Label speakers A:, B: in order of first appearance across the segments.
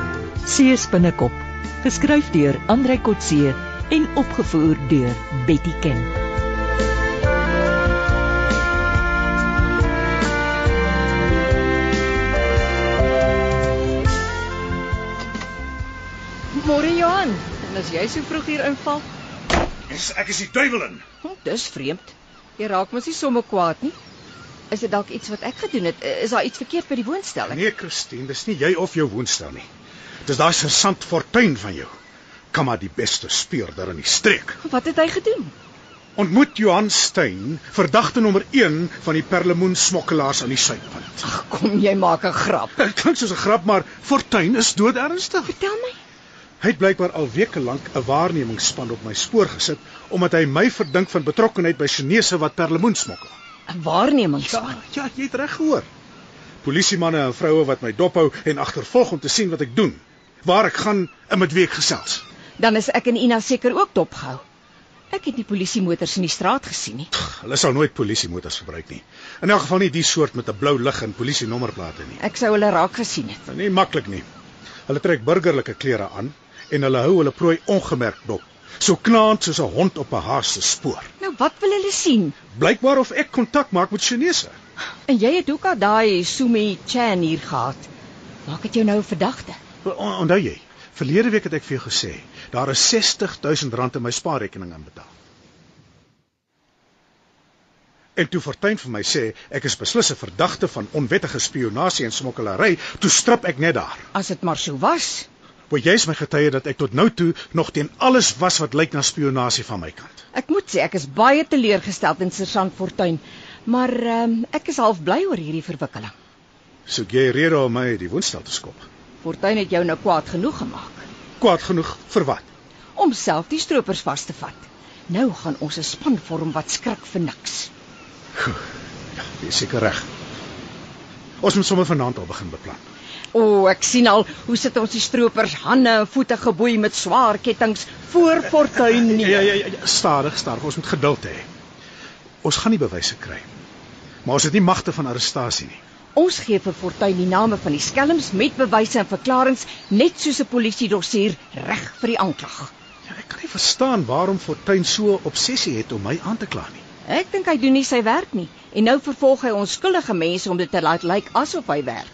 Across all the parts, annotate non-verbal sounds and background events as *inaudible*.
A: Kotse se binnekop, geskryf deur Andrei Kotse en opgevoer deur Betty Ken.
B: Môre Johan, en as jy so vroeg hier inval,
C: Yes, ek is die duiwel in.
B: hm, dis vreemd. Jy raak mos nie sommer kwaad nie. Is dit dalk iets wat ek gedoen het? Eh, Is daar iets verkeerd by die woonstel?
C: Nee, Christine, dis nie jy of jou woonstel nie. Dis daai sergeant Fortuin van jou. Kom maar die beste speurder in die streek.
B: Wat het hy gedoen?
C: Ontmoet Johan Stein, verdagte nommer 1 van die perlemoensmokkelaars aan die suidpunt.
B: Ag, kom jy maak 'n grap.
C: Dit klink soos 'n grap, maar Fortuin is doodernstig.
B: Vertel my.
C: Hy het blykbaar al weke lank 'n waarnemingsspan op my spoor gesit omdat hy my verdink van betrokkeheid by Chinese wat perlemoen smokkel.
B: 'n Waarneming.
C: Ja, ja, jy het reg gehoor. Polisiemanne en vroue wat my dophou en agtervolg om te sien wat ek doen, waar ek gaan en met wie ek gesels.
B: Dan is ek en Ina seker ook dopgehou. Ek het die polisiemotors in die straat gesien nie.
C: Pff, Hulle sal nooit polisiemotors gebruik nie. In elk geval nie die soort met 'n blou lig en polisienommerplate nie.
B: Ek sou hulle raak gesien het.
C: Nie maklik nie. Hulle trek burgerlike klere aan en hulle hou hulle prooi ongemerk dop, so knaand soos 'n hond op 'n haas se spoor.
B: Nou wat wil hulle sien?
C: Blykbaar of ek kontak maak met Chinese.
B: En jy het ook al daai Sumi Chan hier gehad. Maak dit jou nou 'n verdagte?
C: O- on- Onthou jy, verlede week het ek vir jou gesê, daar is 60000 rand in my spaarrekening aanbetaal. En toe Fortuin vir my sê ek is beslis 'n verdagte van onwettige spionasie en smokkelary, toe strip ek net daar.
B: As dit maar so was.
C: Want jy is my getuie dat ek tot nou toe nog teen alles was wat lyk na spionasie van my kant.
B: Ek moet sê ek is baie teleurgesteld in Sergeant Fortuin, maar ehm ek is half bly oor hierdie verwikkeling.
C: Soek jy rede om my uit die woonstel te skop?
B: Fortuin het jou nou kwaad genoeg gemaak
C: Kwaad genoeg vir wat?
B: om self die stroopers vas te vat. Nou gaan ons 'n span vorm wat skrik vir niks.
C: Jy is seker reg. Ons moet sommer vanaand al begin beplan.
B: O, oh, ek sien al hoe sit ons die stroopers hande en voete geboei met swaar kettinge voor Fortuin nie.
C: Ja, ja, ja, ja, stadig, stadig. Ons moet geduld hê. Ons gaan nie bewyse kry nie. Maar ons het nie magte van arrestasie nie.
B: Ons gee vir Fortuin die name van die skelms met bewyse en verklaringe net soos 'n polisie dossier reg vir die aanklag.
C: Ja, ek kan nie verstaan waarom Fortuin so 'n obsessie het om my aan te kla nie.
B: Ek dink hy doen nie sy werk nie en nou vervolg hy onskuldige mense om dit te laat lyk asof hy werk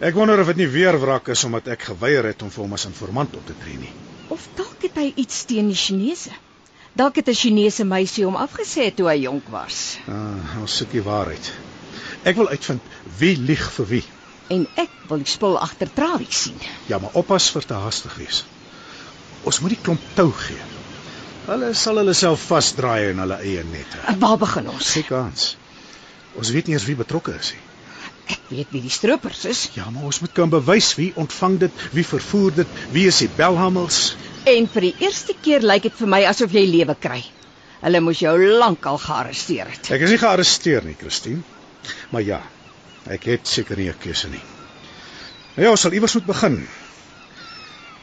C: Ek wonder of dit nie weer wrak is omdat ek geweier het om vir hom as informant op te tree nie.
B: of dalk het hy iets teen die Chinese. Dalk het 'n Chinese meisie hom afgesê toe hy jonk was
C: Ah, ons soek die waarheid. Ek wil uitvind wie lieg vir wie.
B: en ek wil die spul agter tralies sien.
C: Ja, maar oppas vir te haastig wees. Ons moet die klomp tou gee. Hulle sal hulle self vasdraai in hulle eie nette.
B: En Waar begin ons?
C: Seker kans. Ons weet nie eens wie betrokke is nie.
B: Ek weet wie die stroopers is
C: Ja, maar ons moet kan bewys wie ontvang dit, wie vervoer dit, wie is die belhamels?
B: en vir die eerste keer lyk dit vir my asof jy lewe kry. Hulle moes jou lankal gearresteer het.
C: Ek is nie gearresteer nie, Christine. Maar ja, ek het seker nie 'n keuse nie. Nou ja, ons sal iewers moet begin.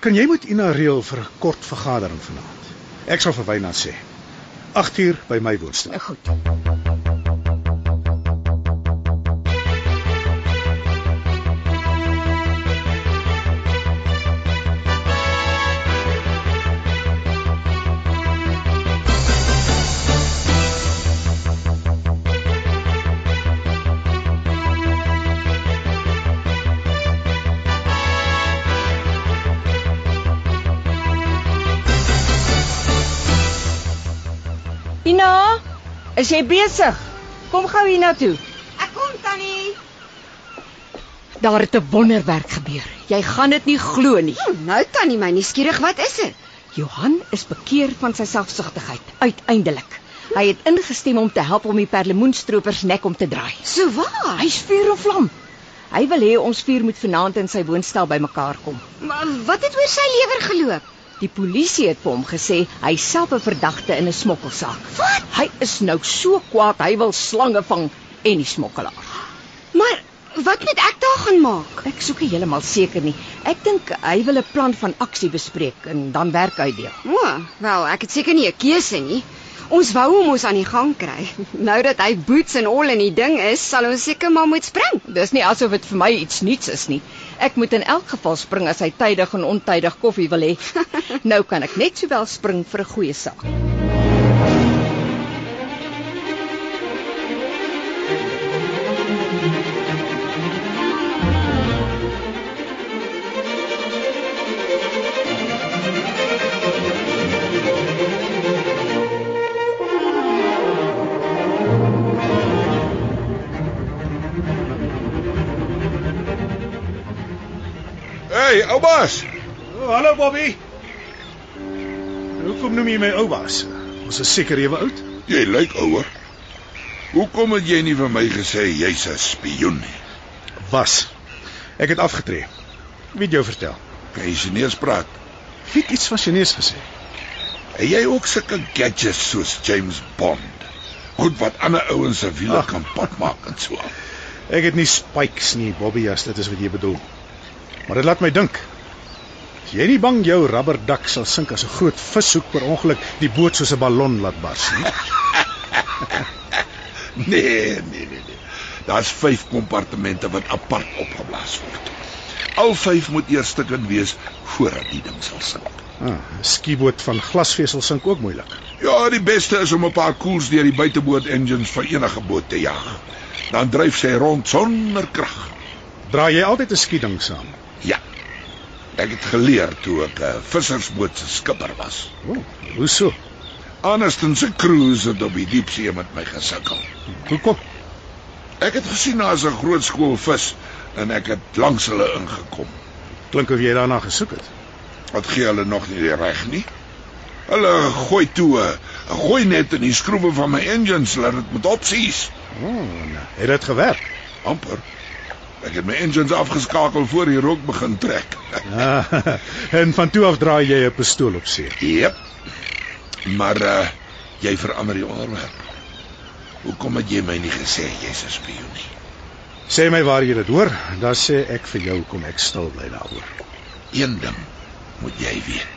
C: Kan jy met Ina reël vir 'n kort vergadering vanaand? Ek sal vir Wynand sê. 8 uur by my woonstel.
B: Nou goed. Ina, is jy besig? Kom gou hiernatoe.
D: Ek kom tannie.
B: Daar het 'n wonderwerk gebeur. Jy gaan dit nie glo nie.
D: Hm, nou tannie, my nuuskierig, wat is dit?
B: Johan is bekeer van sy selfsugtigheid uiteindelik. Hy het ingestem om te help om die perlemoenstroopers nek om te draai.
D: So waar?
B: Hy's vuur en vlam. Hy wil hê ons vier moet vanaand in sy woonstel bymekaar kom.
D: Maar wat het oor sy lewer geloop?
B: Die polisie het vir hom gesê hy self 'n verdagte in 'n smokkelsaak.
D: Wat?
B: Hy is nou so kwaad, hy wil slange vang en die smokkelaar.
D: Maar wat moet ek daar gaan maak?
B: Ek soek nie heeltemal seker nie. Ek dink hy wil 'n plan van aksie bespreek en dan werk uitdeel.
D: O, wel, ek het seker nie 'n keuse nie. Ons wou hom ons aan die gang kry. *laughs* Nou dat hy boots en al in die ding is, sal ons seker maar moet spring.
B: Dis nie asof dit vir my iets nuuts is nie. Ek moet in elk geval spring as hy tydig en ontydig koffie wil
D: *laughs*
B: hê. nou kan ek net sowel spring vir 'n goeie saak.
E: Hey, oupas.
C: Oh, hallo Bobby. Hoekom noem jy my oupas? Ons is seker ewe oud.
E: Jy lyk ouer. Hoekom het jy nie vir my gesê jy's 'n spioen nie?
C: Was. Ek het afgetree. Wie het jou vertel?
E: Kan jy Chinees praat?
C: Wie het iets van Chinees gesê?
E: Het jy ook sulke gadgets soos James Bond? Goed wat ander ouens se wiele
C: Ag.
E: kan pad maak en so. aan. *laughs*
C: Ek het nie spikes nie, Bobby, as dit is wat jy bedoel. Maar dit laat my dink. Is jy nie bang jou rubberdak sal sink as 'n groot vishoek per ongeluk die boot soos 'n ballon laat bars nie?
E: Nee, nee, nee, nee. Daar's 5 kompartemente wat apart opgeblaas word. Al 5 moet eers stukkend wees voordat die ding sal sink.
C: Ah, 'n skieboot van glasvesel sink ook moeilik.
E: Ja, die beste is om 'n paar koels deur die buiteboord engines van enige boot te jag. Dan dryf sy rond sonder krag.
C: Dra jy altyd 'n skieding saam?
E: Ja. Ek het geleer toe ek 'n vissersboot se skipper was.
C: Oh, hoeso?
E: Anderston se cruise het op die diepsee met my gesukkel.
C: Hoekom?
E: Ek het gesien daar's 'n groot skool vis en ek het langs hulle ingekom.
C: Klink of jy daarna gesoek het.
E: Wat gee hulle nog nie die reg nie? Hulle gooi toe, 'n- 'n gooi net in die skroewe van my engines laat dit met opsies.
C: Oh, en het dit gewerk?
E: amper. Ek het my engines afgeskakel voor die rook begin trek. *laughs*
C: Ah, *laughs* en van toe af draai jy 'n pistool op see.
E: Jep. Maar uh jy verander die onderwerp. Hoekom het jy my nie gesê jy's 'n spioen nie?
C: Sê my waar jy dit hoor, dan sê ek vir jou kom ek stil bly daaroor.
E: Een ding moet jy weet.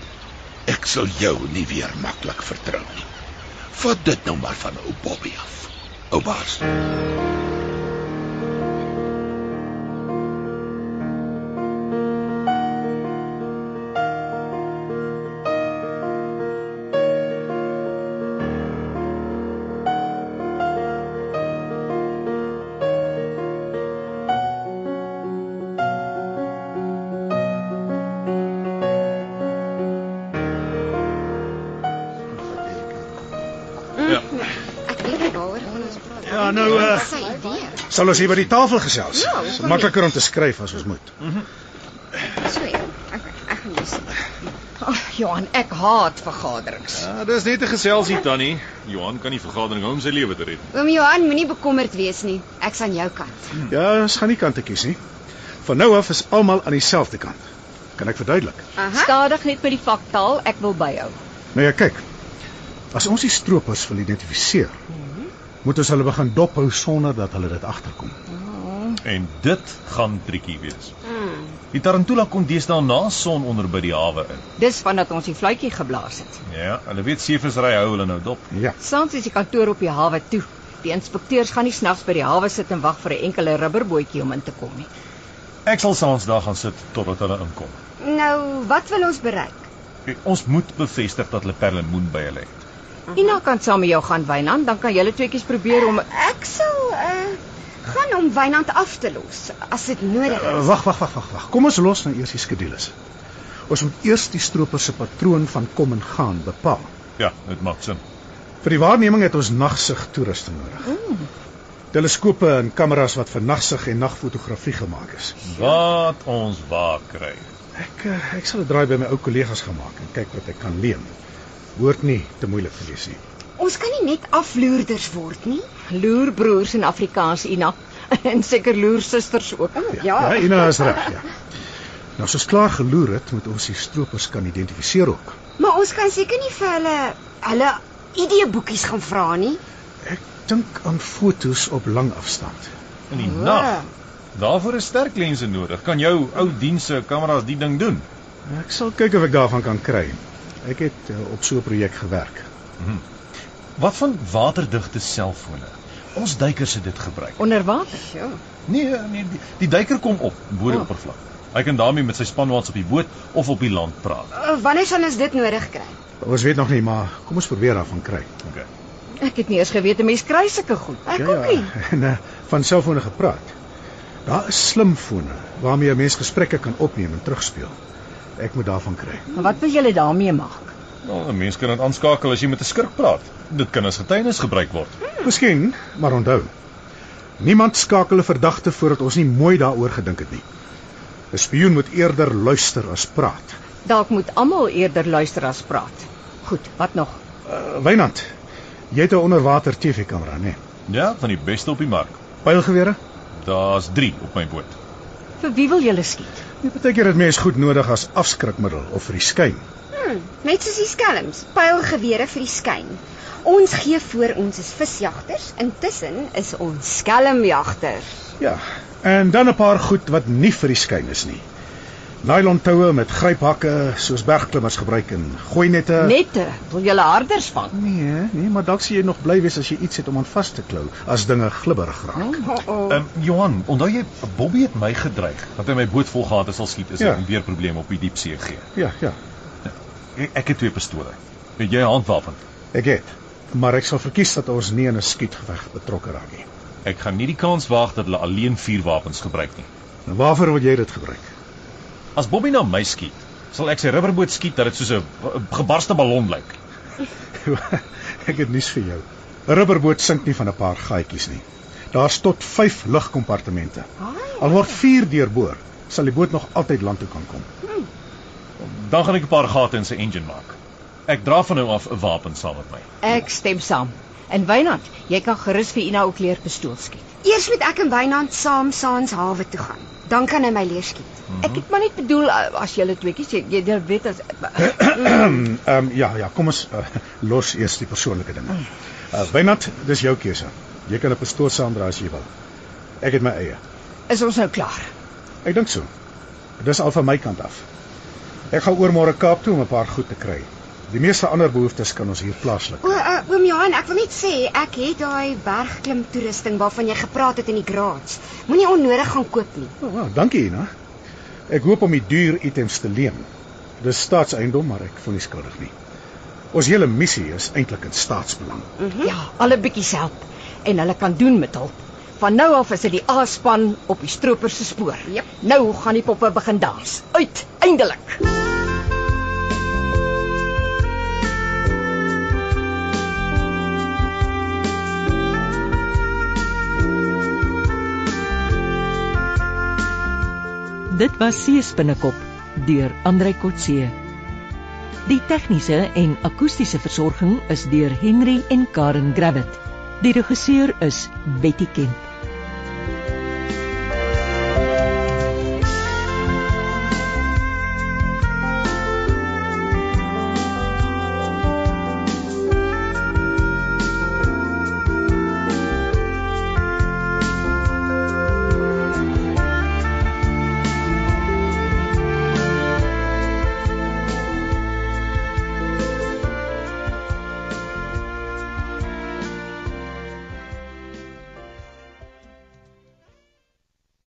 E: Ek sal jou nie weer maklik vertrou nie. Vat dit nou maar van ou Bobby af. Ou baas.
D: Ja. Ek weet nie waaroor ons praat.
C: Ja, nou, eh,
D: Sy idee.
C: Sal ons hier by die tafel gesels?
D: Ja,
C: Dis
D: hoekom
C: makliker om te skryf as ons moet.
D: So, ja. okay, ek gaan lees.
B: Ag, Johan, ek haat vergaderings.
F: Ja, dis net 'n geselsie tannie. Johan kan die vergadering hou om sy lewe te red.
D: Oom Johan, moenie bekommerd wees nie. Ek's aan jou kant.
C: Ja, ons gaan nie kante kies nie. Van nou af is almal aan dieselfde kant. Kan ek verduidelik?
D: Aha.
B: Stadig net met die faktaal, ek wil byhou.
C: Nou ja, kyk. As ons die stroopers wil identifiseer, moet ons hulle begin dophou sonder dat hulle dit agterkom.
F: En dit gaan triekie wees.
D: Mm.
F: Die Tarantula kom deesdae na son onder by die hawe in.
B: Dis vandat ons die fluitjie geblaas het.
F: Ja, hulle weet seevissery hou hulle nou dop.
C: Ja.
B: Soms is die kantoor op die hawe toe. Die inspekteurs gaan nie snags by die hawe sit en wag vir 'n enkele rubberbootjie om in te kom nie.
F: Ek sal saans daar gaan sit totdat hulle inkom.
D: Nou, wat wil ons bereik?
F: Kyk, ons moet bevestig dat hulle perlemoen by hulle het.
B: Ina kan saam met jou gaan Wynand, dan kan julle tweeetjies probeer om
D: Ek sal uh gaan om Wynand af te los as dit nodig
C: Eh,
D: is.
C: Wag, wag, wag, wag, wag. Kom ons los nou eers die skedules. Ons moet eers die stroopers se patroon van kom en gaan bepaal.
F: Ja, dit maak sin.
C: Vir die waarneming het ons nagsig toerusting nodig. Mm. Teleskope en kameras wat vir nagsig en nagfotografie gemaak is.
F: Wat ons waar kry.
C: Ek eh, ek sal 'n draai by my ou kollegas gaan maak en kyk wat ek kan leen. Hoort nie te moeilik te wees nie.
D: Ons kan nie net afloerders word nie.
B: loerbroers in Afrikaans Ina *laughs* en seker loersusters ook.
C: ja Ina is reg, ja. Nou as ons klaar geloer het, moet ons die stroopers kan identifiseer ook.
D: Maar ons kan seker nie vir hulle hulle ideeboekies gaan vra nie.
C: Ek dink aan fotos op lang afstand.
F: In die
D: O.
F: nag. Daarvoor is sterk lense nodig. Kan jou ou dienste kameras die ding doen?
C: Ek sal kyk of ek daarvan kan kry. Ek het eh, op so 'n projek gewerk.
F: Wat van waterdigte selfone? Ons duikers het dit gebruik.
B: Onder water.
D: Ja.
F: Nee, nee, die, die duiker kom op bo die oppervlak.
E: Hy kan daarmee met sy spanmaats op die boot of op die land praat.
D: Uh, Wanneer sal ons dit nodig kry?
C: Ons weet nog nie, maar kom ons probeer daarvan kry.
E: Okay.
B: Ek het nie eens geweet 'n mens kry sulke goed.
D: Ek ook nie.
C: Ja, *laughs* en eh, van selfone gepraat. Daar is slimfone waarmee 'n mens gesprekke kan opneem en terugspeel. Ek moet daarvan kry.
B: Maar Ja, wat wil julle daarmee maak?
E: Nou, 'n mens kan dit aanskakel as jy met 'n skurk praat. Dit kan as getuienis gebruik word.
C: Miskien, maar onthou. Niemand skakel 'n verdagte voordat ons nie mooi daaroor gedink het nie. 'n Spioen moet eerder luister as praat.
B: Dalk moet almal eerder luister as praat. Goed, wat nog?
C: Uh, Wynand, jy het 'n onderwater TV-kamera, né?
E: Ja, van die beste op die mark.
C: Pylgewere?
E: Daar's 3 op my boot.
B: Vir wie wil julle skiet?
C: Jy partykeer Ja, het mens goed nodig as afskrikmiddel of vir die skyn.
D: Hmm, net soos die skelms, pylgewere vir die skyn. Ons gee voor ons is visjagters, intussen is ons skelmjagters.
C: Ja, en dan 'n paar goed wat nie vir die skyn is nie. Nylon toue met gryphakke soos bergklimmers gebruik en gooi nette.
B: Nette, wil julle harders vang?
C: nee, nee, maar dalk sien jy nog bly wees as jy iets het om aan vas te klou as dinge glibberig raak.
D: Oh, oh.
E: Ehm um, Johan, onthou jy Bobby het my gedreig dat hy my boot vol gehad sal skiet as
C: Ja.
E: ja. ek weer probleme op die diep see gee.
C: Ja, ja,
E: Ek, ek het twee pistole. Het jy 'n handwapen?
C: ek het. Maar ek sal verkies dat ons nie in 'n skietgeveg betrokke raak nie.
E: Ek gaan nie die kans waag dat hulle alleen vuurwapens gebruik nie.
C: En waarvoor wil jy dit gebruik? *laughs*
E: As Bobby na my skiet, sal ek sy rubberboot skiet dat dit soos 'n b- gebarste ballon lyk.
C: ek het nuus vir jou. 'n Rubberboot sink nie van 'n paar gaatjies nie. Daar's tot 5 lugkompartemente. Al word 4 deurboor, sal die boot nog altyd land toe kan kom.
E: Dan gaan ek 'n paar gate in sy engine maak. Ek dra van nou af 'n wapen saam met my.
B: Ek stem saam. En Wynand, jy kan gerus vir Ina ook leer pistool skiet.
D: Eers moet ek en Wynand saam saans hawe toe gaan. Dan kan hy my leer skiet.
B: Ek het maar net bedoel uh, as julle tweeetjies, jy, jy jy weet as
C: Ehm um, ja, ja, kom ons uh, *laughs* los eers die persoonlike dinge. Uh, Wynand, dis jou keuse. Jy kan 'n pistool saamdra as jy wil. Ek het my eie.
B: is ons nou klaar.
C: Ek dink so. Dis al van my kant af. Ek gaan oor môre Kaap toe om 'n paar goed te kry. Die meeste ander behoeftes kan ons hier plaaslik.
D: O, uh, oom Johan, ek wil net sê ek het daai bergklim toerusting waarvan jy gepraat het in die graads. Moenie onnodig gaan koop nie.
C: Oh, wow, dankie, Ina. Ek hoop om die duur items te leen. Dis staatseiendom, maar ek voel nie skuldig nie. Ons hele missie is eintlik in staatsbelang.
B: Ja, alle bietjies help en hulle kan doen met hulp. Van nou af is dit die A-span op die stroper se spoor.
D: Jep.
B: Nou gaan die poppe begin dans. Uit, eindelik.
A: Dit was Sees binnekop deur Andrei Kotse. Die tegniese en akoestiese versorging is deur Henry en Karen Gravett. Die regisseur is Betty Kemp.